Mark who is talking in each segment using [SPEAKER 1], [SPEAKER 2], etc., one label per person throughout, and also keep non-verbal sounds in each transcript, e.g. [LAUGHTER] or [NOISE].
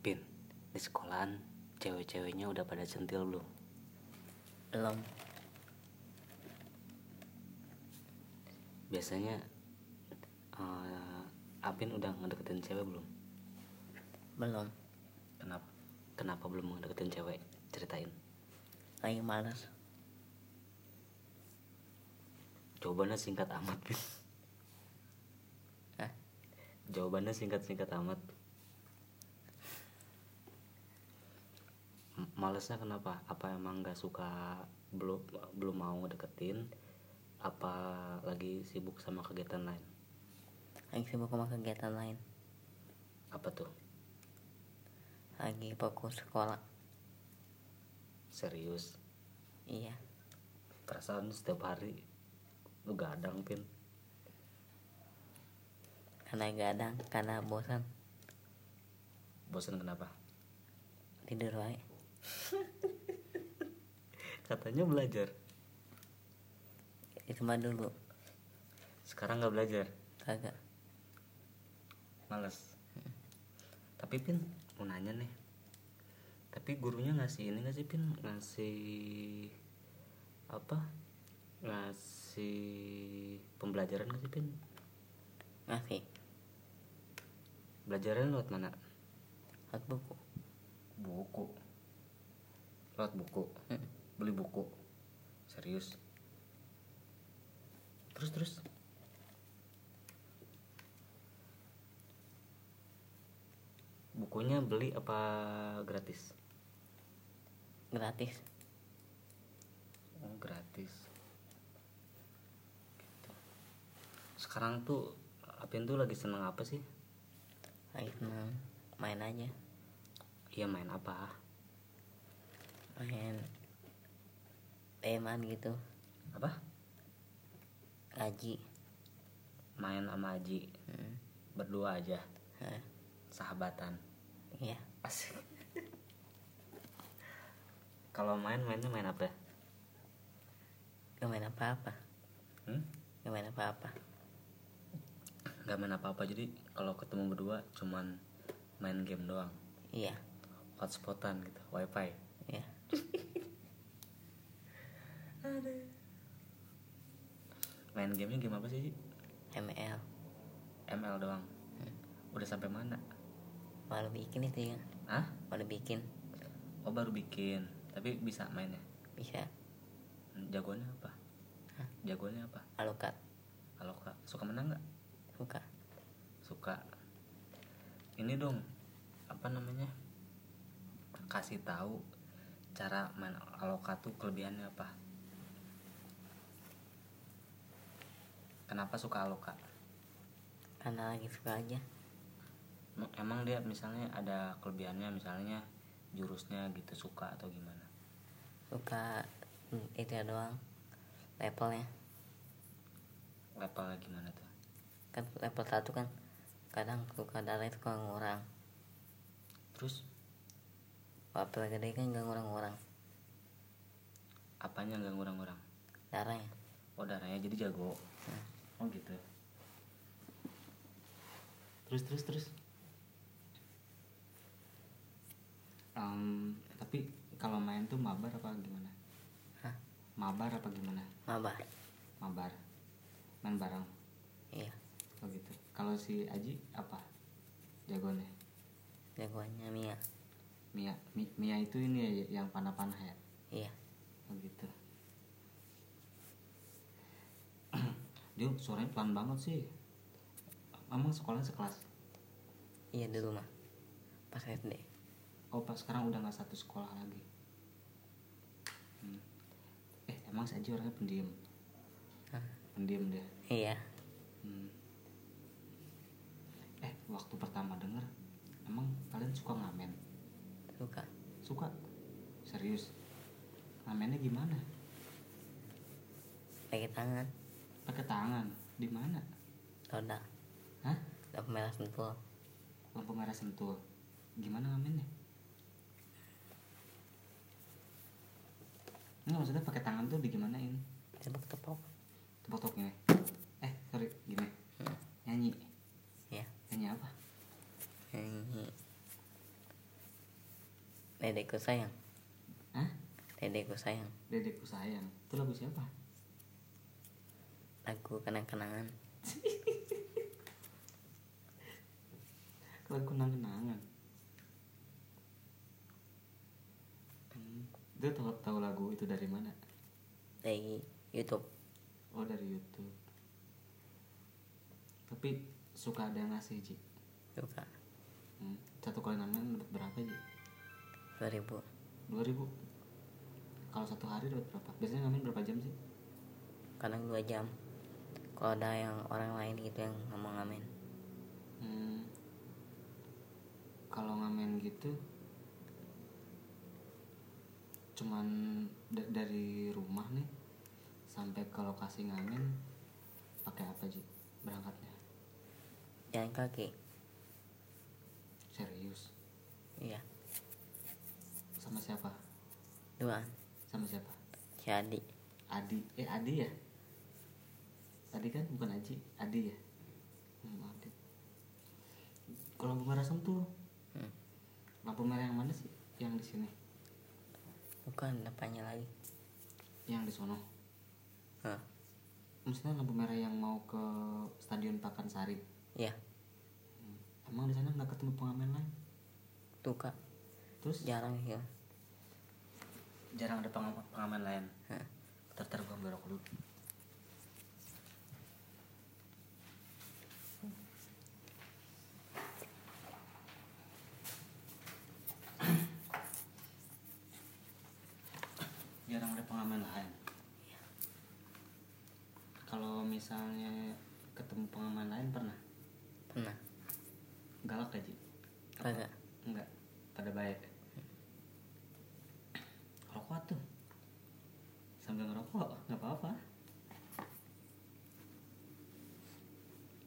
[SPEAKER 1] Pin, di sekolahan cewek-ceweknya udah pada centil belum?
[SPEAKER 2] belum
[SPEAKER 1] Biasanya eh, Apin udah ngedeketin cewek belum?
[SPEAKER 2] belum
[SPEAKER 1] Kenapa? Kenapa belum ngedeketin cewek? Ceritain.
[SPEAKER 2] lagi males
[SPEAKER 1] Jawabannya singkat amat, Pin.
[SPEAKER 2] Hah?
[SPEAKER 1] Jawabannya singkat-singkat amat. M- Malesnya kenapa? Apa emang nggak suka belum belum mau ngedeketin? Apa lagi sibuk sama kegiatan lain?
[SPEAKER 2] lagi sibuk sama kegiatan lain
[SPEAKER 1] Apa tuh?
[SPEAKER 2] lagi fokus sekolah
[SPEAKER 1] Serius?
[SPEAKER 2] iya
[SPEAKER 1] Perasaan setiap hari lu gadang pin.
[SPEAKER 2] karena gadang karena bosan
[SPEAKER 1] Bosan kenapa?
[SPEAKER 2] tidur wae
[SPEAKER 1] Katanya belajar.
[SPEAKER 2] itu mah dulu
[SPEAKER 1] Sekarang nggak belajar.
[SPEAKER 2] kagak
[SPEAKER 1] Males. Tapi pin mau nanya nih. Tapi gurunya ngasih ini nggak sih pin ngasih apa? Ngasih pembelajaran nggak sih pin?
[SPEAKER 2] ngasih
[SPEAKER 1] Belajaran lewat mana?
[SPEAKER 2] hak buku
[SPEAKER 1] Buku. Lewat buku.
[SPEAKER 2] Mm.
[SPEAKER 1] Beli buku. Serius. Terus terus. Bukunya beli apa gratis?
[SPEAKER 2] gratis
[SPEAKER 1] Oh, gratis. Gitu. Sekarang tuh Apin tuh lagi seneng apa sih?
[SPEAKER 2] lagi seneng main aja
[SPEAKER 1] Iya main apa?
[SPEAKER 2] main teman gitu
[SPEAKER 1] Apa?
[SPEAKER 2] ngaji
[SPEAKER 1] Main sama Aji
[SPEAKER 2] Mm.
[SPEAKER 1] berdua aja,
[SPEAKER 2] Hah,
[SPEAKER 1] sahabatan.
[SPEAKER 2] eh, iya
[SPEAKER 1] Asik. Kalau main mainnya main apa?
[SPEAKER 2] gak main apa-apa
[SPEAKER 1] Hmm?
[SPEAKER 2] gak main apa-apa
[SPEAKER 1] Gak main apa-apa jadi kalau ketemu berdua cuman main game doang,
[SPEAKER 2] iya
[SPEAKER 1] hotspotan gitu, wifi.
[SPEAKER 2] iya
[SPEAKER 1] Main gamenya game apa sih? Ji?
[SPEAKER 2] ML
[SPEAKER 1] ML doang. Udah sampai mana?
[SPEAKER 2] baru bikin itu ya
[SPEAKER 1] Hah?
[SPEAKER 2] baru bikin
[SPEAKER 1] Oh baru bikin, tapi bisa mainnya.
[SPEAKER 2] bisa
[SPEAKER 1] Jagoannya apa?
[SPEAKER 2] Hah?
[SPEAKER 1] Jagoannya apa?
[SPEAKER 2] alukat
[SPEAKER 1] Aloka. Suka menang nggak?
[SPEAKER 2] buka
[SPEAKER 1] Suka. Ini dong, apa namanya? Kasih tahu cara main Aloka tuh kelebihannya apa? Kenapa suka Aloka?
[SPEAKER 2] karena lagi suka aja
[SPEAKER 1] Em- Emang dia misalnya ada kelebihannya misalnya jurusnya gitu suka atau gimana?
[SPEAKER 2] suka mm, itu doang levelnya
[SPEAKER 1] Levelnya gimana tuh?
[SPEAKER 2] kan level satu kan kadang suka darah itu kurang ngurang
[SPEAKER 1] Terus
[SPEAKER 2] level gede kan gak ngurang-ngurang
[SPEAKER 1] apanya nggak ngurang-ngurang?
[SPEAKER 2] darahnya
[SPEAKER 1] Oh darahnya jadi jago. Oh gitu. Terus terus terus. Em, tapi kalau main tuh mabar apa gimana?
[SPEAKER 2] Hah?
[SPEAKER 1] Mabar apa gimana?
[SPEAKER 2] mabar
[SPEAKER 1] Mabar. Main bareng.
[SPEAKER 2] iya
[SPEAKER 1] Oh gitu. Kalau si Aji apa? Jagoannya?
[SPEAKER 2] jagoannya Mia
[SPEAKER 1] Mia Mi- Mia itu ini ya, yang panah-panah ya.
[SPEAKER 2] iya
[SPEAKER 1] Oh gitu. [CLEARS THROAT] Dia suaranya pelan banget sih. Emang sekolahnya sekelas?
[SPEAKER 2] iya dulu mah pas SD
[SPEAKER 1] Oh pas sekarang udah nggak satu sekolah lagi. Hmm. Eh emang saja orangnya pendiam.
[SPEAKER 2] Hah?
[SPEAKER 1] Pendiam dia.
[SPEAKER 2] iya
[SPEAKER 1] Hmm. Eh waktu pertama denger, emang kalian suka ngamen?
[SPEAKER 2] suka
[SPEAKER 1] Suka? Serius? Ngamennya gimana?
[SPEAKER 2] pakai tangan
[SPEAKER 1] Pakai tangan? Di mana?
[SPEAKER 2] todal
[SPEAKER 1] Hah?
[SPEAKER 2] lampu merah sentul
[SPEAKER 1] Lampu merah sentul. Gimana ngamennya? Nggak maksudnya pakai tangan tuh digimanain?
[SPEAKER 2] tepuk-tepuk
[SPEAKER 1] tepok gini eh sorry gini nyanyi
[SPEAKER 2] iya
[SPEAKER 1] nyanyi apa
[SPEAKER 2] nyanyi Dedekku sayang
[SPEAKER 1] Hah?
[SPEAKER 2] Dedekku sayang
[SPEAKER 1] Dedekku sayang. Itu lagu siapa?
[SPEAKER 2] Lagu kenang-kenangan
[SPEAKER 1] Lagu kenang-kenangan. Hmm. Dia tahu tahu lagu itu dari mana?
[SPEAKER 2] Dari Youtube
[SPEAKER 1] Oh dari YouTube. Tapi suka ada yang ngasih Ji.
[SPEAKER 2] Suka
[SPEAKER 1] Hmm. Satu kali nangan dapat berapa Ji?
[SPEAKER 2] 2000
[SPEAKER 1] 2000 Kalau satu hari dapat berapa? Biasanya ngamen berapa jam sih?
[SPEAKER 2] Kadang 2 jam Kalau ada yang orang lain gitu yang ngomong ngamen
[SPEAKER 1] Hmm. Kalau ngamen gitu cuman da- dari rumah nih sampai ke lokasi ngamen pakai apa Ji? Berangkatnya.
[SPEAKER 2] Jalan kaki
[SPEAKER 1] Serius.
[SPEAKER 2] Iya
[SPEAKER 1] Sama siapa?
[SPEAKER 2] Dua
[SPEAKER 1] Sama siapa?
[SPEAKER 2] Si Adi
[SPEAKER 1] Adi eh Adi ya Adi kan bukan Aji Adi ya hmm, Adi kalau lampu merah sentuh
[SPEAKER 2] Hmm.
[SPEAKER 1] lampu merah yang mana sih yang di sini
[SPEAKER 2] Bukan depannya lagi
[SPEAKER 1] yang di sono
[SPEAKER 2] Hah,
[SPEAKER 1] maksudnya lampu merah yang mau ke stadion Pakansari
[SPEAKER 2] Iya
[SPEAKER 1] emang di sana nggak ketemu pengamen lain
[SPEAKER 2] Tuh kak
[SPEAKER 1] terus
[SPEAKER 2] Jarang ya. sih Kak.
[SPEAKER 1] jarang ada pengamen, pengamen lain
[SPEAKER 2] Hah.
[SPEAKER 1] tertar gua ambil rokok dulu jarang ada pengamen lain Iya. kalau misalnya ketemu pengamen lain pernah
[SPEAKER 2] Pernah
[SPEAKER 1] galak aja
[SPEAKER 2] Kagak
[SPEAKER 1] enggak pada baik rokok tuh sambil ngerokok nggak apa-apa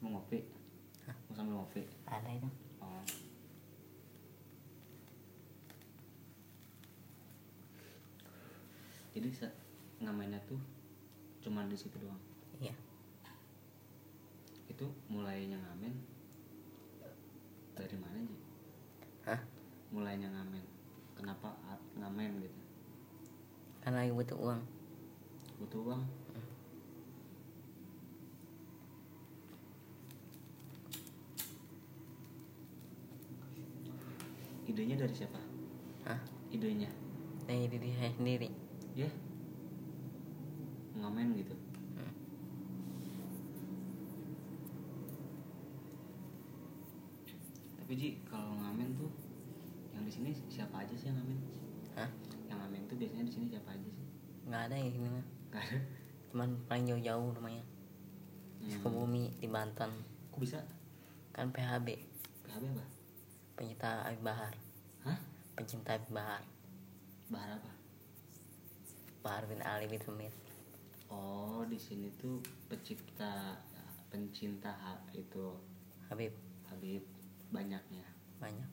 [SPEAKER 1] mau ngopi mau sambil ngopi
[SPEAKER 2] Ada itu
[SPEAKER 1] oh jadi se- ngamennya tuh cuman di situ doang
[SPEAKER 2] Iya
[SPEAKER 1] itu mulainya ngamen dari mana sih
[SPEAKER 2] Hah?
[SPEAKER 1] mulainya ngamen kenapa at- ngamen gitu
[SPEAKER 2] Kan lagi butuh uang
[SPEAKER 1] butuh uang idenya dari siapa
[SPEAKER 2] Hah?
[SPEAKER 1] idenya
[SPEAKER 2] Dari diri saya sendiri
[SPEAKER 1] ya ngamen gitu
[SPEAKER 2] Hmm.
[SPEAKER 1] tapi ji kalau ngamen tuh yang di sini siapa aja sih yang ngamen
[SPEAKER 2] Hah?
[SPEAKER 1] yang ngamen tuh biasanya di sini siapa aja sih
[SPEAKER 2] nggak ada ya sini mah
[SPEAKER 1] Gak ada
[SPEAKER 2] cuman paling jauh-jauh rumahnya
[SPEAKER 1] hmm.
[SPEAKER 2] Sukabumi di Banten
[SPEAKER 1] kok bisa ya,
[SPEAKER 2] kan PHB
[SPEAKER 1] PHB apa
[SPEAKER 2] pencinta Abi Bahar
[SPEAKER 1] hah
[SPEAKER 2] pencinta Abi Bahar
[SPEAKER 1] bahar apa
[SPEAKER 2] Bahar bin Ali bin Sumit
[SPEAKER 1] oh di sini tuh pencipta pencinta ha- itu
[SPEAKER 2] Habib
[SPEAKER 1] Habib banyaknya
[SPEAKER 2] banyak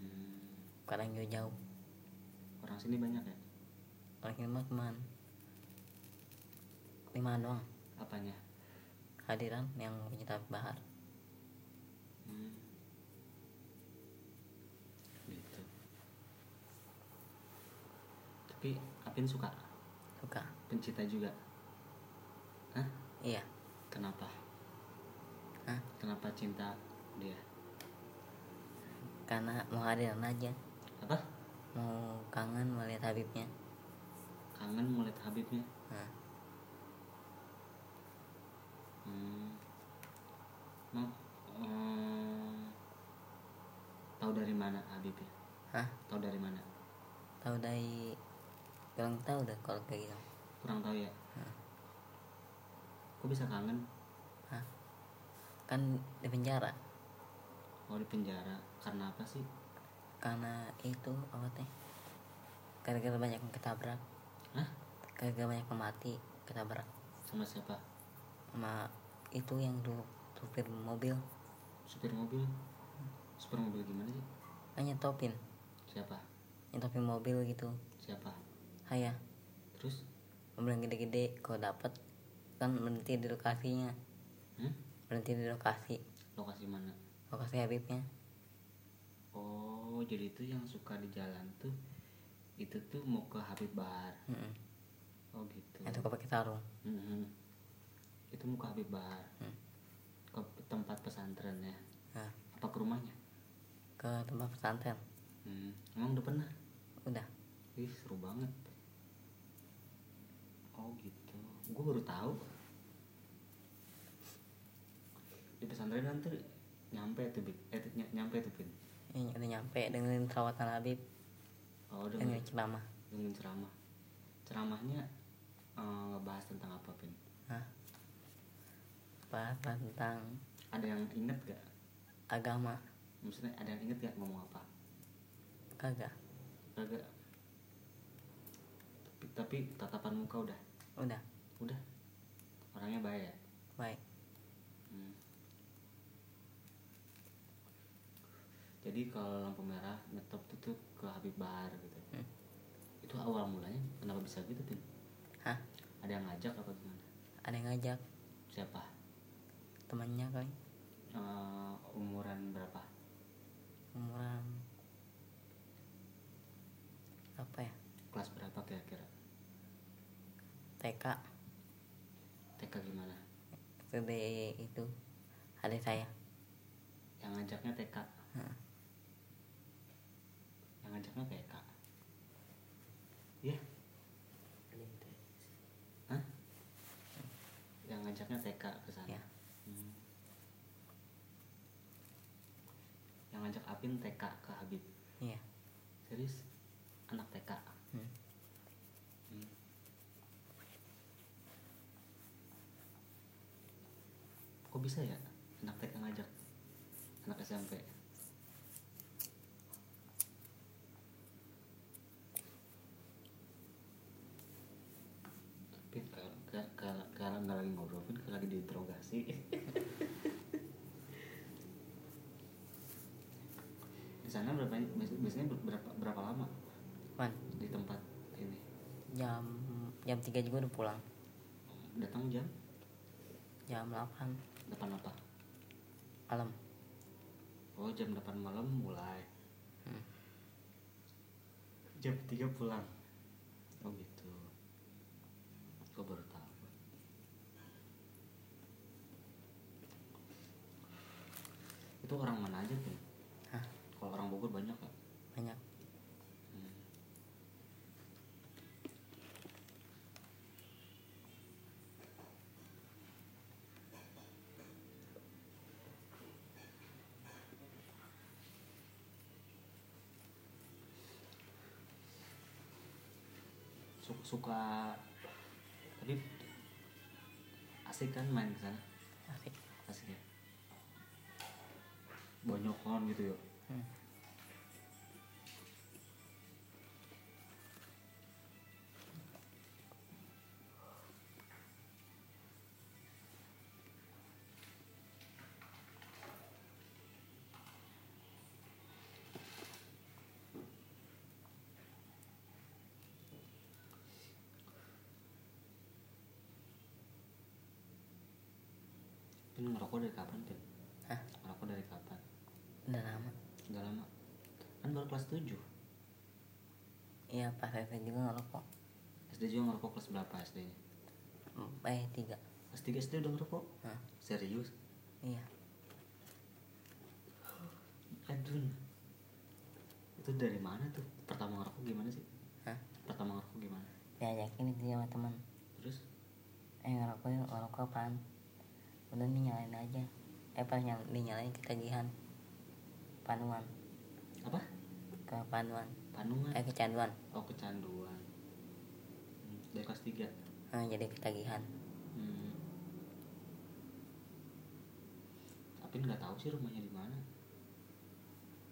[SPEAKER 1] Hmm,
[SPEAKER 2] kadang jauh-jauh
[SPEAKER 1] orang sini banyak ya
[SPEAKER 2] orang ini mah cuman lima doang
[SPEAKER 1] apanya
[SPEAKER 2] hadiran yang pencinta Abi Bahar
[SPEAKER 1] Hmm. gitu tapi Apin suka
[SPEAKER 2] suka
[SPEAKER 1] pencinta juga Hah?
[SPEAKER 2] iya
[SPEAKER 1] kenapa
[SPEAKER 2] Hah?
[SPEAKER 1] kenapa cinta dia
[SPEAKER 2] karena mau hadiran aja
[SPEAKER 1] apa
[SPEAKER 2] mau kangen melihat Habibnya
[SPEAKER 1] kangen melihat Habibnya
[SPEAKER 2] nah,
[SPEAKER 1] hmm. Emang, eh, tahu dari mana Habib ya
[SPEAKER 2] hah
[SPEAKER 1] tahu dari mana
[SPEAKER 2] tahu dari kurang tahu dah kalau kayak gitu
[SPEAKER 1] kurang tahu ya kok bisa kangen
[SPEAKER 2] hah kan di penjara
[SPEAKER 1] kalau di penjara karena apa sih
[SPEAKER 2] karena itu apa teh gara-gara banyak yang ketabrak
[SPEAKER 1] Hah?
[SPEAKER 2] gara-gara banyak yang mati ketabrak
[SPEAKER 1] sama siapa
[SPEAKER 2] sama itu yang dulu supir mobil
[SPEAKER 1] supir mobil supir mobil gimana sih
[SPEAKER 2] kan nyetopin
[SPEAKER 1] siapa
[SPEAKER 2] nyetopin mobil gitu
[SPEAKER 1] siapa
[SPEAKER 2] Haya
[SPEAKER 1] terus
[SPEAKER 2] mobil yang gede-gede kalau dapet kan berhenti di lokasinya
[SPEAKER 1] hmm?
[SPEAKER 2] berhenti di lokasi
[SPEAKER 1] lokasi mana
[SPEAKER 2] lokasi Habibnya
[SPEAKER 1] oh jadi itu yang suka di jalan tuh itu tuh mau ke Habib Bahar
[SPEAKER 2] Mm-mm.
[SPEAKER 1] oh gitu
[SPEAKER 2] Yang suka pakai sarung.
[SPEAKER 1] Mhm. itu mau ke Habib Bahar
[SPEAKER 2] Hmm.
[SPEAKER 1] ke tempat pesantrennya
[SPEAKER 2] Nah,
[SPEAKER 1] apa ke rumahnya
[SPEAKER 2] ke tempat pesantren.
[SPEAKER 1] Hmm, emang udah pernah
[SPEAKER 2] Udah.
[SPEAKER 1] Ih, seru banget. Oh gitu. Gue baru tahu. Di pesantren nanti nyampe tuh, Bin. Eh, ny- nyampe tuh, Bin.
[SPEAKER 2] Ini udah nyampe dengerin perawatan Habib,
[SPEAKER 1] Oh,
[SPEAKER 2] dengerin
[SPEAKER 1] dengerin,
[SPEAKER 2] ceramah.
[SPEAKER 1] dengerin ceramah. Ceramahnya eh, ngebahas tentang apa, Bin?
[SPEAKER 2] Nah, apa tentang
[SPEAKER 1] Ada yang inget gak?
[SPEAKER 2] agama
[SPEAKER 1] Maksudnya ada yang inget gak ngomong apa?
[SPEAKER 2] kagak?
[SPEAKER 1] Kagak. Tapi, tapi tatapan muka udah.
[SPEAKER 2] Udah,
[SPEAKER 1] Udah. Orangnya baik ya?
[SPEAKER 2] baik.
[SPEAKER 1] Hmm. Jadi kalau lampu merah nyetop tuh, tuh ke Habib Bahar gitu.
[SPEAKER 2] Hmm.
[SPEAKER 1] Itu awal mulanya kenapa bisa gitu, Tin?
[SPEAKER 2] Hah?
[SPEAKER 1] Ada yang ngajak apa gimana?
[SPEAKER 2] Ada yang ngajak
[SPEAKER 1] Siapa?
[SPEAKER 2] temannya kali?
[SPEAKER 1] Eh, umuran berapa?
[SPEAKER 2] Umuran apa ya?
[SPEAKER 1] Kelas berapa kira-kira?
[SPEAKER 2] TK
[SPEAKER 1] TK gimana?
[SPEAKER 2] SD itu adik saya.
[SPEAKER 1] Yang ngajaknya TK.
[SPEAKER 2] Heeh.
[SPEAKER 1] Yang ngajaknya TK. Iya, Hah? Yang ngajaknya TK ke sana.
[SPEAKER 2] Ya.
[SPEAKER 1] Hmm. Yang ngajak Apin TK ke Habib.
[SPEAKER 2] Iya.
[SPEAKER 1] Serius? Anak TK.
[SPEAKER 2] Hmm.
[SPEAKER 1] Hmm. Kok bisa ya anak TK ngajak anak SMP? Pin, kalau kalau nggak lagi ngobrol, Pin, kalau lagi diinterogasi. [LAUGHS] Di sana berapa biasanya berapa berapa lama
[SPEAKER 2] Man,
[SPEAKER 1] di tempat ini?
[SPEAKER 2] jam jam 3 juga udah pulang.
[SPEAKER 1] Datang jam
[SPEAKER 2] Jam 8
[SPEAKER 1] 8 apa?
[SPEAKER 2] malam.
[SPEAKER 1] Oh jam 8 malam mulai
[SPEAKER 2] Hmm.
[SPEAKER 1] Jam 3 pulang Oh gitu Gue baru tahu Itu orang mana aja tuh?
[SPEAKER 2] Hah?
[SPEAKER 1] Kalau orang Bogor banyak kan?
[SPEAKER 2] Banyak.
[SPEAKER 1] Su- Suka Tapi Asik kan main kesana?
[SPEAKER 2] Asik.
[SPEAKER 1] Asik ya? Bonyokon gitu ya?
[SPEAKER 2] Hmm.
[SPEAKER 1] Pin ngerokok dari kapan Pin?
[SPEAKER 2] Hah?
[SPEAKER 1] Ngerokok dari kapan?
[SPEAKER 2] Udah lama.
[SPEAKER 1] Udah lama Kan baru kelas 7
[SPEAKER 2] Iya, pas SD juga ngerokok.
[SPEAKER 1] SD juga ngerokok kelas berapa SD nya?
[SPEAKER 2] Hmm, Eh, 3.
[SPEAKER 1] Kelas 3 SD udah ngerokok?
[SPEAKER 2] Hah?
[SPEAKER 1] Serius?
[SPEAKER 2] Nah, Iya.
[SPEAKER 1] Adun Itu dari mana tuh? Pertama ngerokok gimana sih?
[SPEAKER 2] Hah?
[SPEAKER 1] Pertama ngerokok gimana?
[SPEAKER 2] Diajakin itu sama teman.
[SPEAKER 1] Terus?
[SPEAKER 2] Eh, ngerokok yuk, ngerokok apaan? Udah nih nyalain aja. Eh, pas nyal dinyalain ketagihan. Panuan.
[SPEAKER 1] Apa?
[SPEAKER 2] Ke panuan.
[SPEAKER 1] Panungan
[SPEAKER 2] Eh, kecanduan.
[SPEAKER 1] Oh kecanduan Hmm, Dari kelas 3
[SPEAKER 2] Nah, jadi ketagihan.
[SPEAKER 1] hmm. Tapi nggak tahu sih rumahnya di mana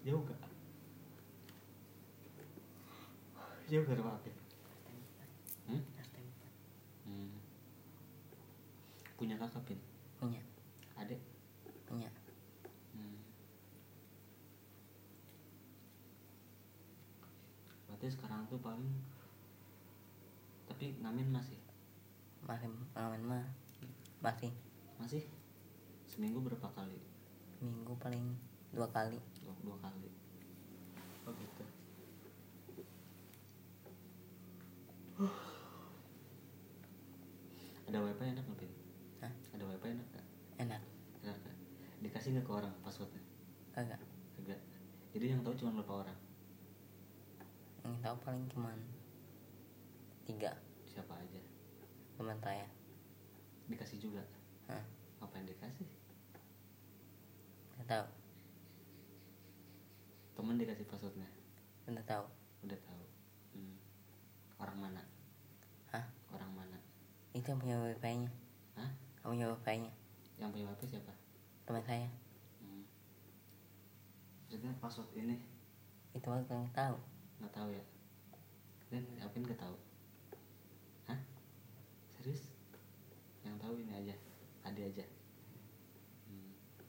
[SPEAKER 1] Jauh gak? Jauh gak rumah Apin? Hmm? Hmm. Punya kakak Pin?
[SPEAKER 2] Punya.
[SPEAKER 1] Adek?
[SPEAKER 2] Punya.
[SPEAKER 1] Hmm. Berarti sekarang tuh paling tapi ngamen masih
[SPEAKER 2] Masih ngamen mah. Masih.
[SPEAKER 1] masih seminggu berapa kali
[SPEAKER 2] Minggu paling dua kali.
[SPEAKER 1] dua, dua kali oh kasih nggak ke orang passwordnya
[SPEAKER 2] kagak
[SPEAKER 1] kagak jadi yang tahu cuma berapa orang
[SPEAKER 2] yang tahu paling cuman tiga
[SPEAKER 1] siapa aja
[SPEAKER 2] teman saya
[SPEAKER 1] dikasih juga
[SPEAKER 2] Hah,
[SPEAKER 1] apa yang dikasih
[SPEAKER 2] udah tahu
[SPEAKER 1] temen dikasih passwordnya
[SPEAKER 2] udah tahu
[SPEAKER 1] udah tahu Hmm. orang mana
[SPEAKER 2] Hah?
[SPEAKER 1] orang mana
[SPEAKER 2] itu yang punya wifi nya
[SPEAKER 1] Hah?
[SPEAKER 2] yang punya wifi nya
[SPEAKER 1] yang punya hp siapa
[SPEAKER 2] teman saya
[SPEAKER 1] Hmm. maksudnya password ini
[SPEAKER 2] itu waktu yang tahu
[SPEAKER 1] nggak tahu ya dan apa nggak tahu Hah? serius yang tahu ini aja ada aja Hmm. [SIGHS]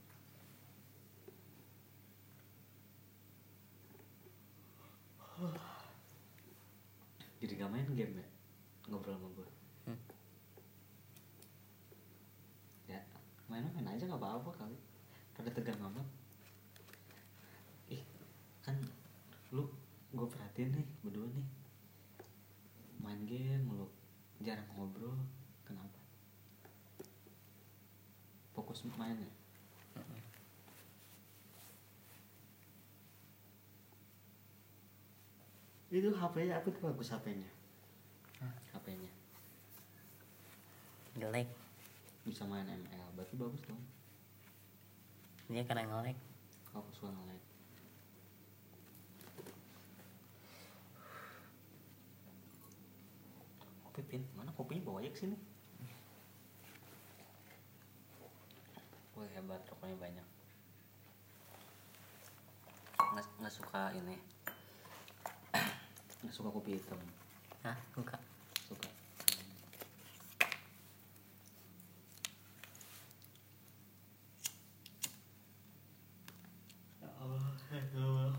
[SPEAKER 1] jadi gak main game ya ngobrol sama gue
[SPEAKER 2] Hmm.
[SPEAKER 1] ya main-main aja gak apa-apa kali pada tegang amat ih kan lu gue perhatiin nih berdua nih main game lu jarang ngobrol kenapa fokus main ya itu HP-nya aku tuh bagus HP-nya
[SPEAKER 2] Hah?
[SPEAKER 1] HP-nya
[SPEAKER 2] jelek
[SPEAKER 1] bisa main ML berarti bagus dong
[SPEAKER 2] dia kadang ngolek
[SPEAKER 1] aku suka nge-lag kopi pin mana kopinya bawa aja kesini Wih hebat rokoknya banyak nggak, nggak suka ini [CLEARS THROAT] nggak suka kopi hitam
[SPEAKER 2] Hah, buka
[SPEAKER 1] suka ya Allah ya Allah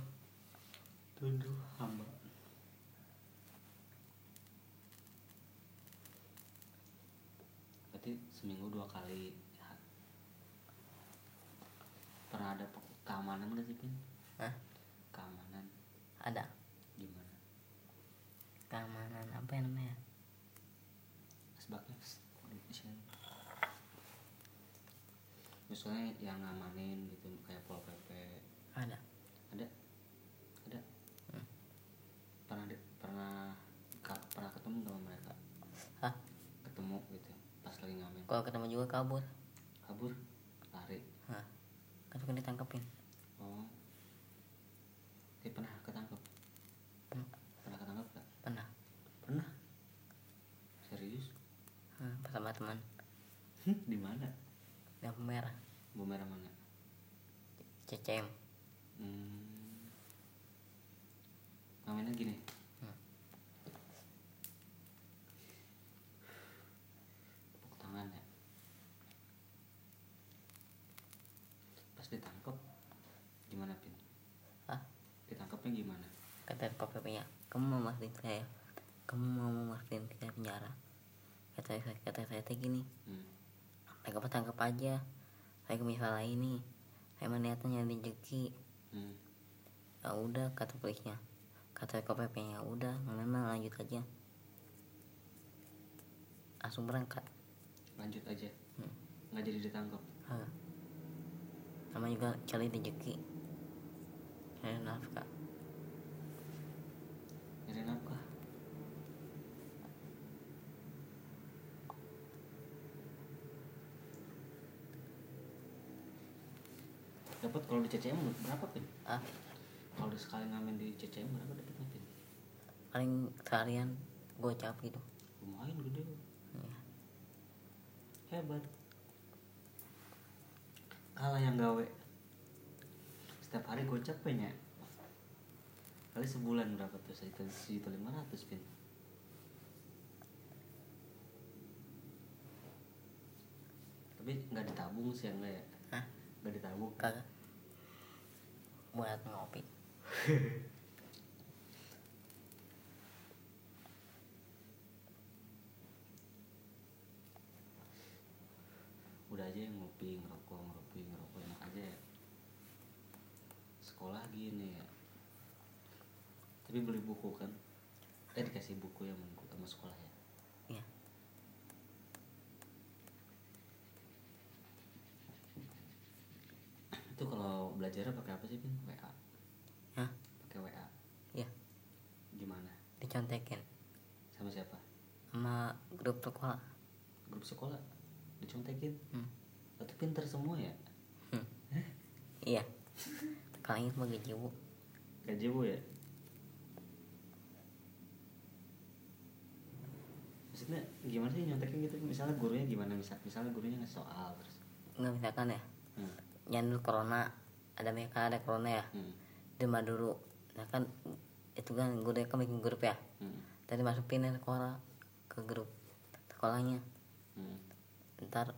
[SPEAKER 1] tuduh hamba berarti seminggu dua kali ya. pernah ada pe- keamanan gak sih pin
[SPEAKER 2] Hah?
[SPEAKER 1] keamanan
[SPEAKER 2] ada
[SPEAKER 1] gimana
[SPEAKER 2] keamanan apa yang namanya
[SPEAKER 1] sebabnya misalnya yang ngamanin gitu kayak pol pp
[SPEAKER 2] ada
[SPEAKER 1] ada ada
[SPEAKER 2] Hmm.
[SPEAKER 1] pernah di- pernah ka- pernah ketemu sama mereka
[SPEAKER 2] Hah?
[SPEAKER 1] ketemu gitu pas lagi ngamen
[SPEAKER 2] kalau ketemu juga kabur
[SPEAKER 1] kabur lari
[SPEAKER 2] Hah? kan suka ditangkepin
[SPEAKER 1] oh tapi pernah ketangkep
[SPEAKER 2] Hmm,
[SPEAKER 1] pernah ketangkep gak
[SPEAKER 2] pernah
[SPEAKER 1] pernah serius
[SPEAKER 2] Hah, pas sama teman Hmm?
[SPEAKER 1] di mana
[SPEAKER 2] lampu merah
[SPEAKER 1] bumerang mana
[SPEAKER 2] CCM
[SPEAKER 1] Hmm. Ngamennya gini.
[SPEAKER 2] Hmm.
[SPEAKER 1] Tepuk tangan ya. Pas ditangkap gimana pin?
[SPEAKER 2] Hah?
[SPEAKER 1] Ditangkapnya gimana?
[SPEAKER 2] kata KPP nya kamu mau masukin saya kamu mau masukin saya penjara kata saya kata saya teh gini
[SPEAKER 1] Hmm.
[SPEAKER 2] mereka apa tangkap aja saya misalnya ini saya melihatnya nyari rezeki
[SPEAKER 1] Hmm.
[SPEAKER 2] ya udah kata polisnya kata KPP nya "Ya udah memang lanjut aja langsung berangkat
[SPEAKER 1] Lanjut aja.
[SPEAKER 2] Hmm.
[SPEAKER 1] Nggak jadi ditangkap.
[SPEAKER 2] Hah. sama juga cari rezeki Ya, cari nafkah
[SPEAKER 1] Nyari nafkah. Dapat kalau di CCM berapa pin?
[SPEAKER 2] ah
[SPEAKER 1] Kalau udah sekali ngamen di CCM berapa dapatnya pin?
[SPEAKER 2] paling seharian gocap gitu
[SPEAKER 1] Lumayan gede.
[SPEAKER 2] Iya.
[SPEAKER 1] Hebat. Kalah yang gawe. Setiap hari gocap punya. Kali sebulan berapa tuh? Sejuta, sejuta lima ratus pin. Tapi nggak ditabung sih enggak ya?
[SPEAKER 2] Hah?
[SPEAKER 1] Nggak ditabung.
[SPEAKER 2] kagak buat ngopi
[SPEAKER 1] udah aja yang ngopi ngerokok ngopi ngerokok enak aja ya sekolah gini ya tapi beli buku kan eh dikasih buku yang sama sekolah ya
[SPEAKER 2] Iya.
[SPEAKER 1] belajar pakai apa sih pin WA
[SPEAKER 2] Hah?
[SPEAKER 1] pakai WA
[SPEAKER 2] Iya.
[SPEAKER 1] gimana
[SPEAKER 2] dicontekin
[SPEAKER 1] sama siapa
[SPEAKER 2] sama grup sekolah
[SPEAKER 1] grup sekolah dicontekin
[SPEAKER 2] Hmm.
[SPEAKER 1] tapi pinter semua ya
[SPEAKER 2] iya tekanannya semua gejiwu
[SPEAKER 1] gaji bu ya maksudnya gimana sih nyontekin gitu misalnya gurunya gimana misal misalnya gurunya ngasih soal terus
[SPEAKER 2] nggak misalkan ya
[SPEAKER 1] hmm.
[SPEAKER 2] yang dulu corona ada mereka ada corona ya
[SPEAKER 1] Hmm.
[SPEAKER 2] Dema dulu nah kan itu kan gue udah kan bikin grup ya
[SPEAKER 1] Hmm.
[SPEAKER 2] tadi masukin ya sekolah ke grup sekolahnya
[SPEAKER 1] Hmm.
[SPEAKER 2] ntar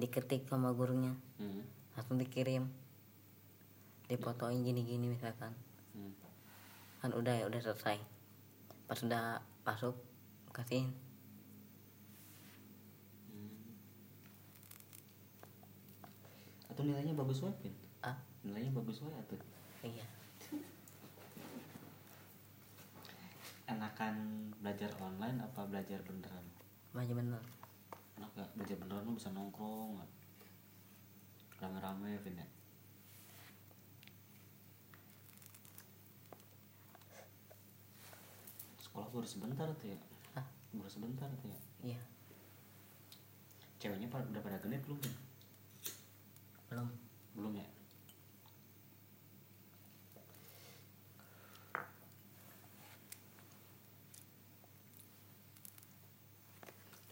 [SPEAKER 2] diketik sama gurunya
[SPEAKER 1] Hmm.
[SPEAKER 2] langsung dikirim dipotoin gini-gini misalkan
[SPEAKER 1] Hmm.
[SPEAKER 2] kan udah ya udah selesai pas udah masuk kasihin
[SPEAKER 1] Hmm. atau nilainya bagus banget Pin?
[SPEAKER 2] ah
[SPEAKER 1] nilainya bagus banget tuh
[SPEAKER 2] iya
[SPEAKER 1] enakan belajar online apa belajar beneran
[SPEAKER 2] maju bener
[SPEAKER 1] enak gak belajar beneran lu bisa nongkrong nggak? rame-rame ya Vin ya sekolah baru sebentar tuh ya
[SPEAKER 2] Hah?
[SPEAKER 1] baru sebentar tuh ya
[SPEAKER 2] Ah, iya
[SPEAKER 1] ceweknya pada, udah pada genit belum ya? Vin?
[SPEAKER 2] belum
[SPEAKER 1] belum ya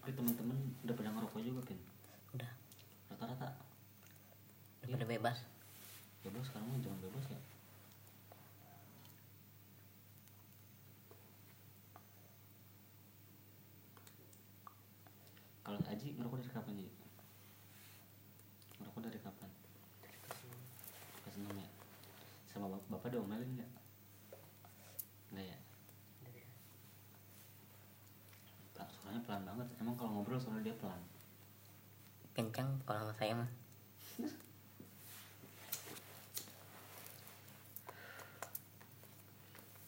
[SPEAKER 1] tapi teman-teman udah pada ngerokok juga Vin
[SPEAKER 2] udah
[SPEAKER 1] rata-rata
[SPEAKER 2] udah pada bebas
[SPEAKER 1] bebas sekarang mah jangan bebas ya kalau Aji ngerokok dari kapan Ji? ngerokok dari kapan kelas enam ya sama bap- bapak diomelin nggak nggak ya Pelan- suaranya pelan banget emang kalau ngobrol suara dia pelan
[SPEAKER 2] kencang kalau sama saya mah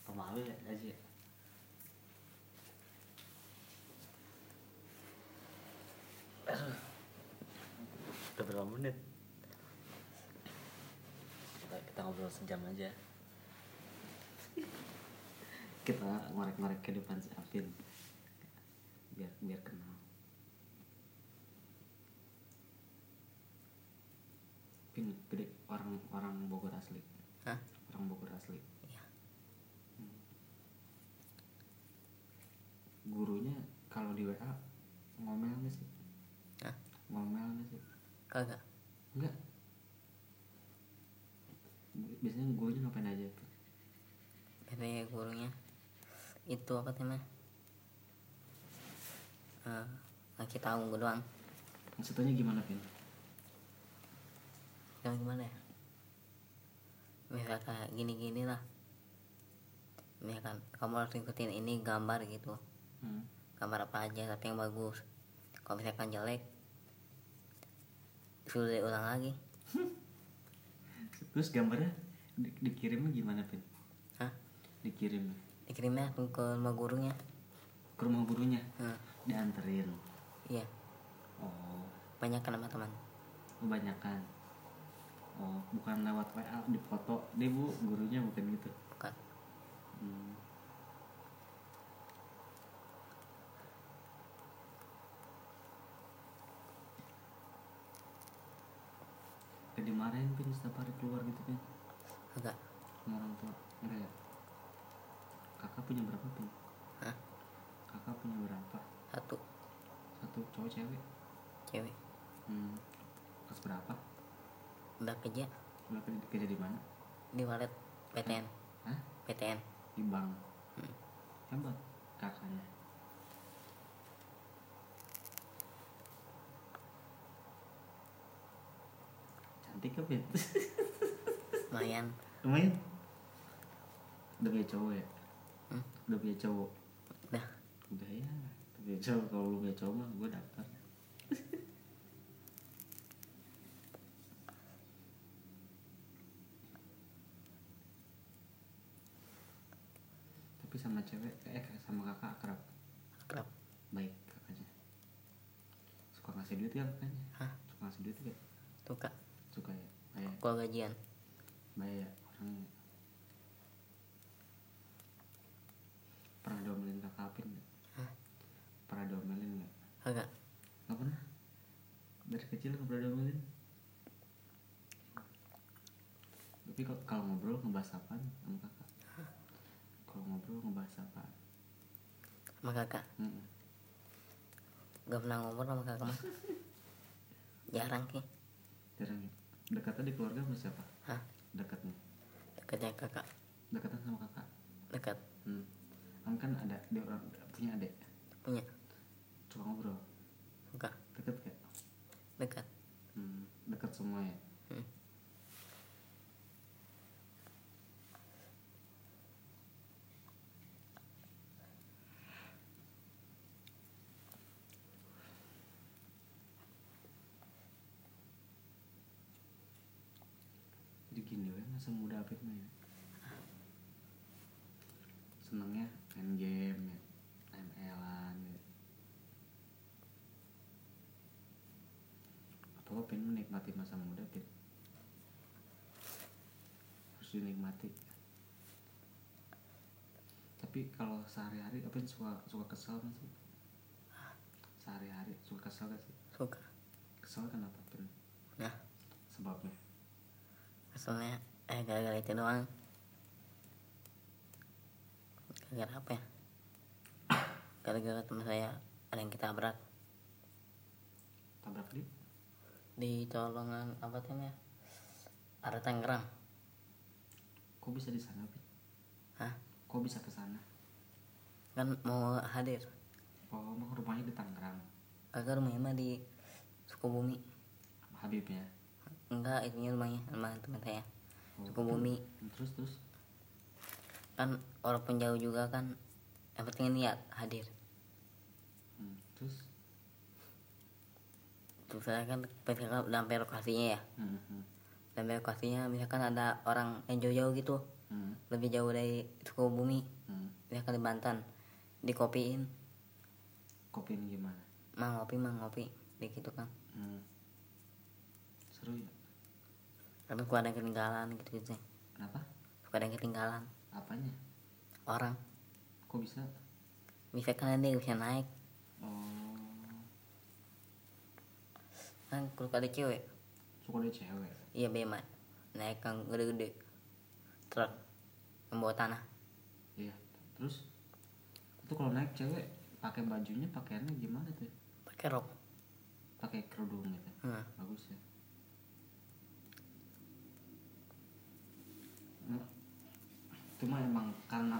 [SPEAKER 1] pemalu ya Aji ya udah berapa menit kita, kita ngobrol sejam aja kita ngorek-ngorek kehidupan si Apin biar biar kenal Pin gede orang orang Bogor asli
[SPEAKER 2] Hah?
[SPEAKER 1] orang Bogor asli
[SPEAKER 2] Iya.
[SPEAKER 1] Hmm. gurunya kalau di WA ngomel nggak sih
[SPEAKER 2] Hah?
[SPEAKER 1] ngomel nggak sih
[SPEAKER 2] kagak
[SPEAKER 1] Enggak. Bi- Biasanya gurunya ngapain aja?
[SPEAKER 2] dari ya gurunya itu apa tema Eh, ngasih tahu gue doang
[SPEAKER 1] Maksudnya gimana, Pin?
[SPEAKER 2] yang gimana ya misal kayak gini gini lah misalkan kamu harus ikutin ini gambar gitu
[SPEAKER 1] Hmm.
[SPEAKER 2] gambar apa aja tapi yang bagus kalau misalkan jelek suruh diulang lagi
[SPEAKER 1] Terus gambarnya di- dikirimnya gimana, Pin?
[SPEAKER 2] Hah?
[SPEAKER 1] Dikirim
[SPEAKER 2] dikirimnya langsung ke rumah gurunya
[SPEAKER 1] ke rumah gurunya,
[SPEAKER 2] Hah,
[SPEAKER 1] dianterin.
[SPEAKER 2] iya
[SPEAKER 1] Oh,
[SPEAKER 2] banyak kan sama teman
[SPEAKER 1] kebanyakan. Oh, bukan lewat WA dipoto. Dia bu, gurunya bukan gitu.
[SPEAKER 2] bukan
[SPEAKER 1] Hmm. Kayak dimarahin pin setiap hari keluar gitu pin
[SPEAKER 2] agak
[SPEAKER 1] sama orang tua enggak ya kakak punya berapa pin
[SPEAKER 2] Hah?
[SPEAKER 1] kakak punya berapa
[SPEAKER 2] satu
[SPEAKER 1] satu cowok cewek
[SPEAKER 2] cewek
[SPEAKER 1] hmm. kelas berapa
[SPEAKER 2] udah kerja
[SPEAKER 1] udah kerja, kerja di mana
[SPEAKER 2] di walet PTN
[SPEAKER 1] Hah?
[SPEAKER 2] PTN
[SPEAKER 1] di bank
[SPEAKER 2] Hmm.
[SPEAKER 1] hebat kakaknya cantik kan Pin?
[SPEAKER 2] lumayan
[SPEAKER 1] lumayan udah punya cowok ya
[SPEAKER 2] Hmm.
[SPEAKER 1] udah punya cowok
[SPEAKER 2] udah
[SPEAKER 1] udah ya udah punya cowok kalau lu punya cowok mah gue daftar tapi sama cewek eh sama kakak akrab
[SPEAKER 2] kerap
[SPEAKER 1] baik kakaknya suka ngasih kan, duit gak kakaknya
[SPEAKER 2] Hah?
[SPEAKER 1] suka ngasih duit gak
[SPEAKER 2] suka
[SPEAKER 1] suka ya kayak
[SPEAKER 2] kalau gajian
[SPEAKER 1] Baik ya orangnya Pernah domelin kakak Apin nggak?
[SPEAKER 2] Hah?
[SPEAKER 1] Pernah domelin nggak?
[SPEAKER 2] agak
[SPEAKER 1] Nggak pernah Dari kecil nggak pernah domelin Tapi kok kalau ngobrol ngebahas apa sama kakak? Kalau ngobrol ngebahas apa?
[SPEAKER 2] sama kakak
[SPEAKER 1] Mm-mm.
[SPEAKER 2] gak pernah ngobrol sama kakak mah jarang ki
[SPEAKER 1] Jarang ya? Dekatnya di keluarga sama siapa?
[SPEAKER 2] Hah?
[SPEAKER 1] Dekatnya
[SPEAKER 2] dekatnya kakak
[SPEAKER 1] Dekatan sama kakak?
[SPEAKER 2] dekat
[SPEAKER 1] Hmm. Kamu kan ada dia orang punya adik.
[SPEAKER 2] punya
[SPEAKER 1] Coba ngobrol.
[SPEAKER 2] bukan
[SPEAKER 1] Deket gak?
[SPEAKER 2] dekat
[SPEAKER 1] Hmm. Deket semua ya.
[SPEAKER 2] Hmm.
[SPEAKER 1] Jadi gini lah masa muda Apit mah ya. Senengnya main game ya. ML-an ya. Atau lo pengen menikmati masa muda Pit? Harus dinikmati Tapi kalau sehari-hari Apit suka, suka kesel gak sih? Sehari-hari suka kesel gak sih?
[SPEAKER 2] suka
[SPEAKER 1] Kesel kenapa Pin?
[SPEAKER 2] nah
[SPEAKER 1] Sebabnya
[SPEAKER 2] asalnya eh gara-gara itu doang gara-gara apa ya gara-gara teman saya ada yang ketabrak
[SPEAKER 1] Tabrak di
[SPEAKER 2] di colongan apa tuh ya ada Tangerang
[SPEAKER 1] Kok bisa di sana Pit?
[SPEAKER 2] Hah?
[SPEAKER 1] Kok bisa ke sana?
[SPEAKER 2] kan mau hadir
[SPEAKER 1] Oh, emang rumahnya di Tangerang.
[SPEAKER 2] kagak rumahnya mah di Sukabumi
[SPEAKER 1] Habib ya.
[SPEAKER 2] enggak itunya rumahnya sama teman saya
[SPEAKER 1] Oh.
[SPEAKER 2] Sukabumi
[SPEAKER 1] Terus terus
[SPEAKER 2] kan walaupun jauh juga kan yang penting niat hadir
[SPEAKER 1] Hmm, terus
[SPEAKER 2] terus saya kan PKK udah sampai lokasinya ya
[SPEAKER 1] hmm, hmm,
[SPEAKER 2] udah sampai lokasinya misalkan ada orang yang jauh-jauh gitu
[SPEAKER 1] hmm,
[SPEAKER 2] lebih jauh dari Sukabumi
[SPEAKER 1] hmm.
[SPEAKER 2] misalkan di Bantan dikopiin
[SPEAKER 1] Kopiin gimana?
[SPEAKER 2] mang ngopi mang ngopi gitu kan
[SPEAKER 1] Hmm. Seru ya.
[SPEAKER 2] tapi gua ada yang ketinggalan gitu gitu
[SPEAKER 1] Kenapa?
[SPEAKER 2] suka ada yang ketinggalan
[SPEAKER 1] Apanya?
[SPEAKER 2] orang
[SPEAKER 1] Kok bisa?
[SPEAKER 2] misalkan nanti bisa naik
[SPEAKER 1] Oh,
[SPEAKER 2] kan kalau ada cewek
[SPEAKER 1] suka ada cewek.
[SPEAKER 2] iya beman naik yang gede-gede truk membawa tanah
[SPEAKER 1] Iya. Terus itu kalau naik cewek pakai bajunya pakaiannya gimana tuh?
[SPEAKER 2] pakai rok
[SPEAKER 1] Pakai kerudung gitu.
[SPEAKER 2] hmm.
[SPEAKER 1] Bagus ya. Nah, Cuma emang karena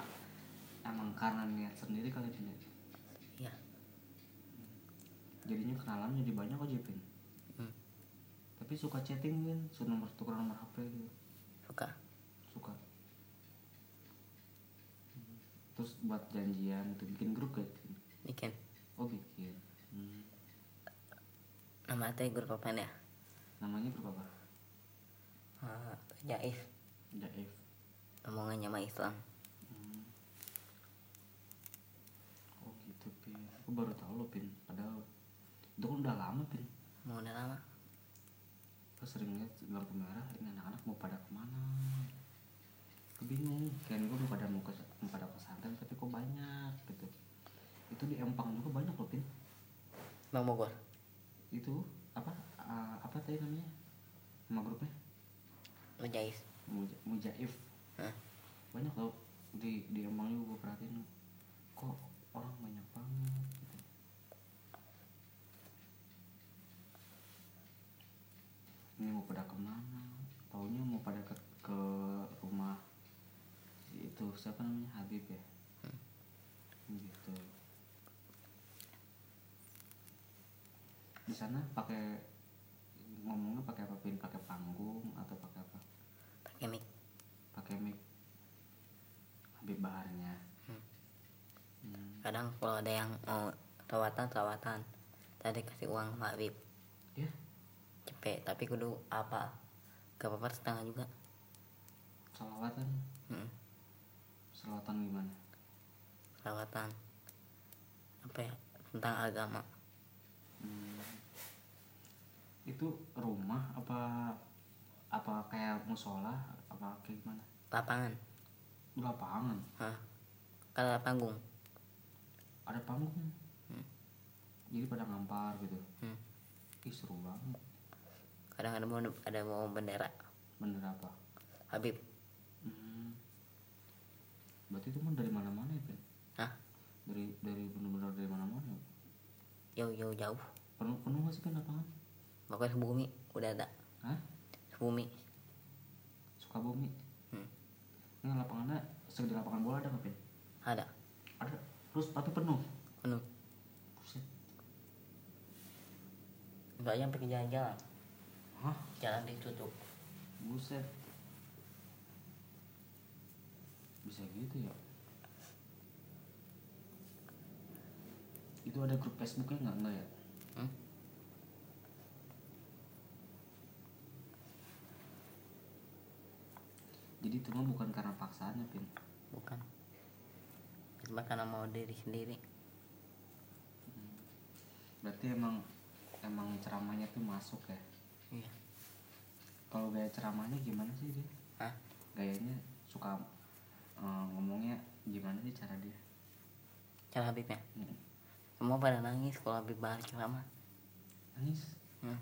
[SPEAKER 1] emang karena niat sendiri kali ini.
[SPEAKER 2] iya
[SPEAKER 1] jadinya kenalan jadi banyak aja pin
[SPEAKER 2] Hmm.
[SPEAKER 1] tapi suka chatting pin suka nomor tukar nomor hp gitu
[SPEAKER 2] suka
[SPEAKER 1] suka Hmm. terus buat janjian itu bikin grup kayak Pin?
[SPEAKER 2] bikin
[SPEAKER 1] oh bikin Hmm.
[SPEAKER 2] nama teh grup apa ya
[SPEAKER 1] namanya berapa pak
[SPEAKER 2] Eh, Jaif
[SPEAKER 1] Jaif
[SPEAKER 2] omongannya sama Islam
[SPEAKER 1] Hmm. oh gitu pin aku baru tahu lo pin padahal itu kan udah lama pin
[SPEAKER 2] mau udah lama
[SPEAKER 1] Terus sering lihat lampu merah ini anak-anak mau pada kemana Gue bingung Kayaknya gue mau pada mau, kes- mau pada pesantren tapi kok banyak gitu itu di Empang juga banyak loh Pin
[SPEAKER 2] Bang Bogor
[SPEAKER 1] itu apa eh, apa tadi namanya nama grupnya
[SPEAKER 2] lu Jaif
[SPEAKER 1] Muja- Mujaif
[SPEAKER 2] Hah?
[SPEAKER 1] banyak loh di di Empang juga gue perhatiin kok orang banyak banget gitu. ini mau pada kemana taunya mau pada ke, ke rumah itu siapa namanya Habib ya gitu di sana pakai ngomongnya pakai apa Pin? pakai panggung atau pakai apa
[SPEAKER 2] pakai mic
[SPEAKER 1] pakai mic Habib Baharnya
[SPEAKER 2] Hmm.
[SPEAKER 1] Hmm.
[SPEAKER 2] kadang kalau ada yang oh, mau rawatan rawatan tadi kasih uang sama Habib Iya?
[SPEAKER 1] ya
[SPEAKER 2] cepet tapi kudu apa gak apa-apa setengah juga
[SPEAKER 1] selawatan
[SPEAKER 2] hmm.
[SPEAKER 1] selawatan gimana
[SPEAKER 2] rawatan apa ya tentang agama
[SPEAKER 1] Hmm. itu rumah apa apa kayak musola apa apa kayak gimana
[SPEAKER 2] lapangan
[SPEAKER 1] di lapangan
[SPEAKER 2] Hah. kalau panggung
[SPEAKER 1] ada panggung
[SPEAKER 2] Hmm.
[SPEAKER 1] jadi pada ngampar gitu
[SPEAKER 2] Hmm.
[SPEAKER 1] ih seru banget
[SPEAKER 2] kadang ada mau ada mau bendera
[SPEAKER 1] bener apa
[SPEAKER 2] Habib
[SPEAKER 1] hmm. berarti itu mah dari mana-mana ya Ben?
[SPEAKER 2] Hah?
[SPEAKER 1] dari dari bener-bener dari mana-mana ya?
[SPEAKER 2] jauh jauh jauh
[SPEAKER 1] penuh penuh gak sih kan lapangan
[SPEAKER 2] pokoknya sebumi udah ada
[SPEAKER 1] Hah?
[SPEAKER 2] sebumi
[SPEAKER 1] Sukabumi
[SPEAKER 2] Hmm.
[SPEAKER 1] ini lapangannya segede lapangan bola ada nggak Ben?
[SPEAKER 2] ada
[SPEAKER 1] ada terus tapi penuh
[SPEAKER 2] penuh
[SPEAKER 1] Buset.
[SPEAKER 2] soalnya pergi jalan-jalan
[SPEAKER 1] Hah?
[SPEAKER 2] jalan ditutup
[SPEAKER 1] Buset. Bisa gitu ya? Itu ada grup Facebooknya nggak nggak ya?
[SPEAKER 2] Hmm?
[SPEAKER 1] Jadi itu mah bukan karena paksaan ya, Pin.
[SPEAKER 2] bukan cuma karena mau diri sendiri
[SPEAKER 1] Berarti emang emang ceramahnya tuh masuk ya.
[SPEAKER 2] iya
[SPEAKER 1] Kalau gaya ceramahnya gimana sih dia?
[SPEAKER 2] Hah?
[SPEAKER 1] Gayanya suka eh, ngomongnya gimana sih cara dia?
[SPEAKER 2] cara Habibnya
[SPEAKER 1] Hmm.
[SPEAKER 2] semua pada nangis kalau Habib bahas ceramah
[SPEAKER 1] Nangis.
[SPEAKER 2] hmm.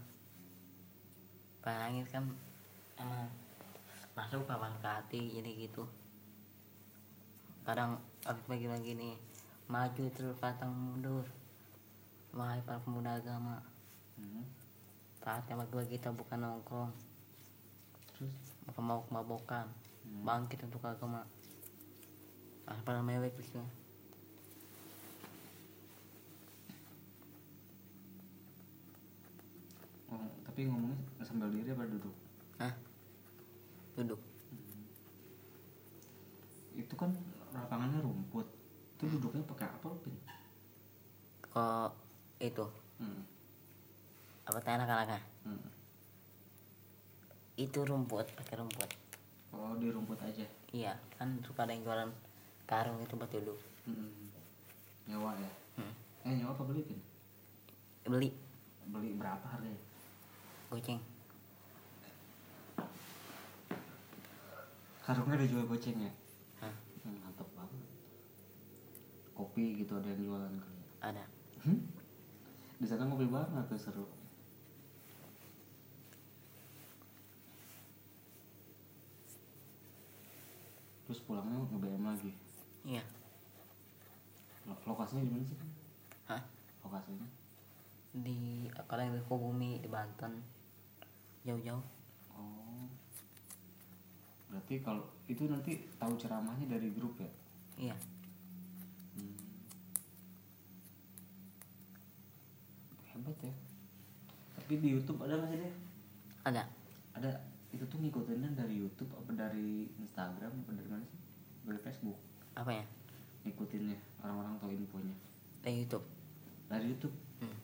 [SPEAKER 2] pada nangis kan emang masuk papan ke hati jadi gitu kadang Habib bagi-bagi nih maju terus patang mundur wahai para pemuda agama
[SPEAKER 1] Hmm.
[SPEAKER 2] saatnya bagi-bagi kita bukan nongkrong
[SPEAKER 1] Terus
[SPEAKER 2] maka mau kemabukan
[SPEAKER 1] Hmm.
[SPEAKER 2] bangkit untuk agama apa namanya web itu
[SPEAKER 1] Oh, tapi ngomongnya sambil diri apa duduk?
[SPEAKER 2] Hah? duduk
[SPEAKER 1] Itu kan lapangannya rumput. Itu duduknya pakai apa, Pin?
[SPEAKER 2] kok itu
[SPEAKER 1] Hmm.
[SPEAKER 2] apa tanah kalaka
[SPEAKER 1] Hmm.
[SPEAKER 2] itu rumput pakai rumput
[SPEAKER 1] Oh, di rumput aja.
[SPEAKER 2] iya kan suka ada yang jualan karung itu buat duduk
[SPEAKER 1] Hmm. Nyewa ya.
[SPEAKER 2] Hmm.
[SPEAKER 1] Eh, nyewa apa beli, Pin?
[SPEAKER 2] beli
[SPEAKER 1] Beli berapa harganya?
[SPEAKER 2] goceng
[SPEAKER 1] Karungnya ada jual goceng ya?
[SPEAKER 2] Hah?
[SPEAKER 1] Hmm, mantep banget. Kopi gitu ada yang jualan kali ya.
[SPEAKER 2] ada
[SPEAKER 1] Hmm? Di sana ngopi banget tuh seru. Terus pulangnya nge-BM lagi.
[SPEAKER 2] iya
[SPEAKER 1] Lo- Lokasinya di mana sih? Kan?
[SPEAKER 2] Hah?
[SPEAKER 1] Lokasinya
[SPEAKER 2] di kalau yang di Sukabumi di Banten jauh-jauh
[SPEAKER 1] Oh. Berarti kalau itu nanti tahu ceramahnya dari grup ya?
[SPEAKER 2] iya
[SPEAKER 1] Hmm. Hebat ya. Tapi di YouTube ada nggak sih deh?
[SPEAKER 2] ada
[SPEAKER 1] Ada itu tuh ngikutinnya dari YouTube apa dari Instagram apa dari mana sih? Dari Facebook
[SPEAKER 2] apa ya
[SPEAKER 1] ngikutinnya orang-orang tahu infonya
[SPEAKER 2] dari YouTube
[SPEAKER 1] dari YouTube.
[SPEAKER 2] hmm.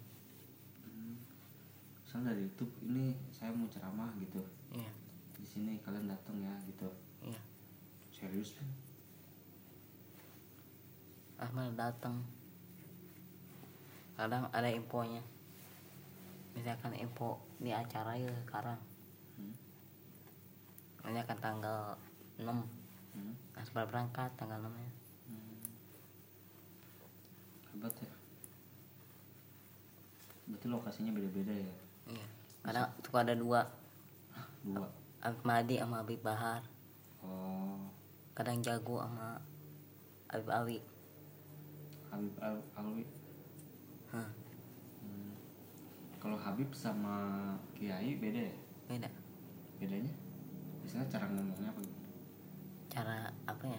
[SPEAKER 1] Hmm. Misalnya dari YouTube ini saya mau ceramah gitu
[SPEAKER 2] iya
[SPEAKER 1] di sini kalian datang ya gitu
[SPEAKER 2] iya
[SPEAKER 1] serius Bang?
[SPEAKER 2] Ahmad datang kadang ada infonya misalkan info di acara ya sekarang
[SPEAKER 1] Hmm.
[SPEAKER 2] misalkan tanggal 6
[SPEAKER 1] Hmm.
[SPEAKER 2] harus berangkat tanggal 6 ya
[SPEAKER 1] Hmm. Hebat ya. Berarti lokasinya beda-beda ya.
[SPEAKER 2] iya kadang suka ada dua
[SPEAKER 1] Dua.
[SPEAKER 2] Abib Mahdi sama Abib Bahar
[SPEAKER 1] Oh,
[SPEAKER 2] kadang jago sama Abib Awi
[SPEAKER 1] Habib Al Alwi.
[SPEAKER 2] Hah,
[SPEAKER 1] Hmm. Kalau Habib sama Kiai beda ya?
[SPEAKER 2] beda
[SPEAKER 1] Bedanya? Misalnya cara ngomongnya apa gitu?
[SPEAKER 2] cara apa ya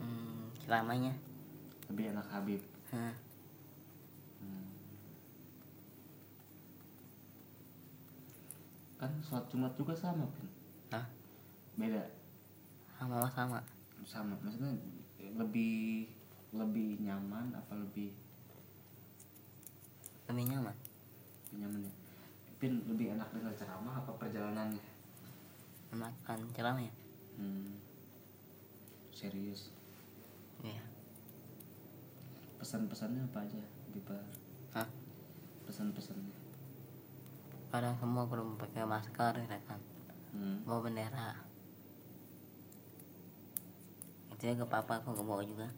[SPEAKER 2] hmm, ceramahnya
[SPEAKER 1] Lebih enak Habib.
[SPEAKER 2] Hah,
[SPEAKER 1] Hmm. Kan sholat Jumat juga sama, Pin.
[SPEAKER 2] Hah?
[SPEAKER 1] Beda.
[SPEAKER 2] sama sama
[SPEAKER 1] sama maksudnya lebih lebih nyaman apa lebih
[SPEAKER 2] lebih nyaman
[SPEAKER 1] lebih nyaman ya pin lebih enak dengan ceramah apa perjalanannya
[SPEAKER 2] makan ceramah ya
[SPEAKER 1] hmm. serius
[SPEAKER 2] iya
[SPEAKER 1] pesan-pesannya apa aja Bipa
[SPEAKER 2] Hah?
[SPEAKER 1] pesan-pesannya
[SPEAKER 2] kadang semua belum pakai masker ya kan
[SPEAKER 1] Hmm.
[SPEAKER 2] bawa bendera itu ya gak apa-apa kok gak bawa juga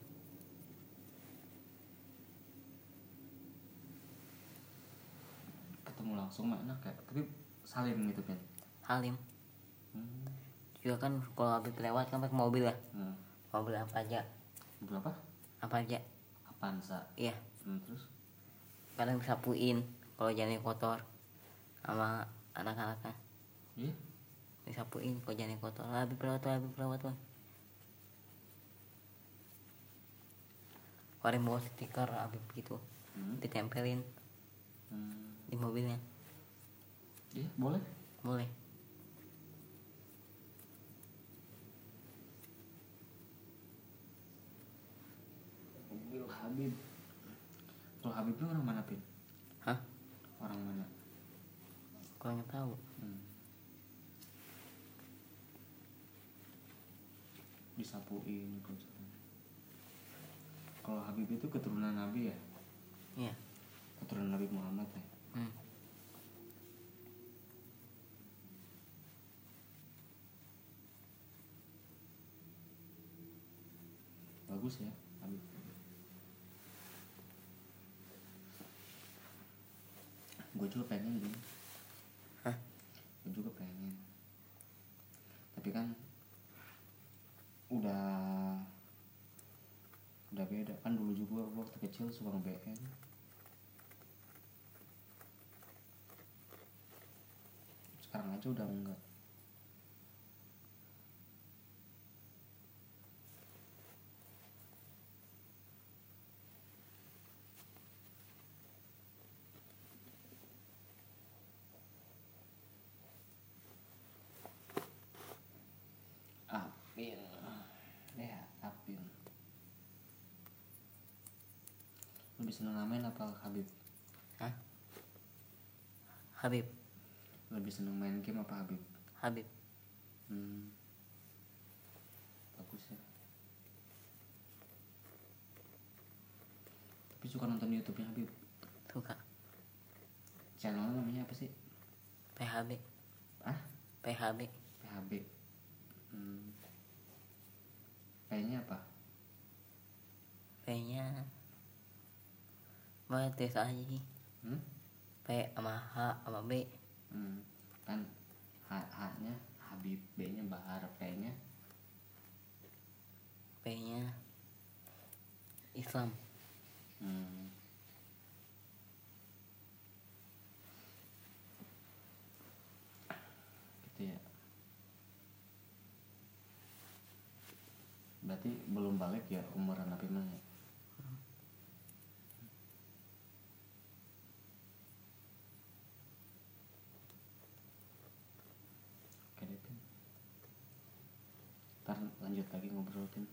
[SPEAKER 1] Ketemu langsung mah enak ya. Tapi salim gitu kan.
[SPEAKER 2] Halim
[SPEAKER 1] Hmm.
[SPEAKER 2] juga kan kalau habis lewat kan pakai mobil ya
[SPEAKER 1] Hmm.
[SPEAKER 2] mobil apa aja
[SPEAKER 1] Berapa?
[SPEAKER 2] apa aja
[SPEAKER 1] Avanza.
[SPEAKER 2] iya
[SPEAKER 1] Hmm, terus
[SPEAKER 2] kadang disapuin kalau jalan kotor sama anak-anaknya
[SPEAKER 1] iya
[SPEAKER 2] disapuin kalau jalan kotor habis lewat woy, habis lewat woy. kalau ada yang bawa stiker habis gitu
[SPEAKER 1] hmm.
[SPEAKER 2] ditempelin
[SPEAKER 1] Hmm.
[SPEAKER 2] di mobilnya
[SPEAKER 1] iya boleh
[SPEAKER 2] boleh
[SPEAKER 1] mobil Habib kalau Habib itu orang mana pin
[SPEAKER 2] hah
[SPEAKER 1] orang mana
[SPEAKER 2] kalau nggak tahu
[SPEAKER 1] hmm. disapuin kalau misalkan. kalau Habib itu keturunan Nabi ya
[SPEAKER 2] iya
[SPEAKER 1] keturunan Nabi Muhammad ya
[SPEAKER 2] hmm.
[SPEAKER 1] bagus ya Habib gue juga pengen dong
[SPEAKER 2] Hah?
[SPEAKER 1] gue juga pengen tapi kan udah udah beda kan dulu juga gua waktu kecil suka nge-BN sekarang aja udah enggak Apin Ya Apin Lebih seneng main apa Habib?
[SPEAKER 2] hah Habib
[SPEAKER 1] Lebih seneng main game apa Habib?
[SPEAKER 2] Habib
[SPEAKER 1] Hmm. Bagus ya Tapi suka nonton Youtube-nya Habib
[SPEAKER 2] suka
[SPEAKER 1] Channelnya namanya apa sih?
[SPEAKER 2] PHB
[SPEAKER 1] Ah?
[SPEAKER 2] PHB
[SPEAKER 1] PHB hmm. Kayaknya apa?
[SPEAKER 2] kayaknya banyak tes aja sih
[SPEAKER 1] Hmm?
[SPEAKER 2] P sama H sama B
[SPEAKER 1] Hmm, kan H-nya Habib, B-nya Bahar, P-nya
[SPEAKER 2] P nya Islam
[SPEAKER 1] hmm. Gitu ya. Berarti belum balik ya umuran Nabi mah ya? Oke deh, Pin. Ntar lanjut lagi ngobrol, Pin.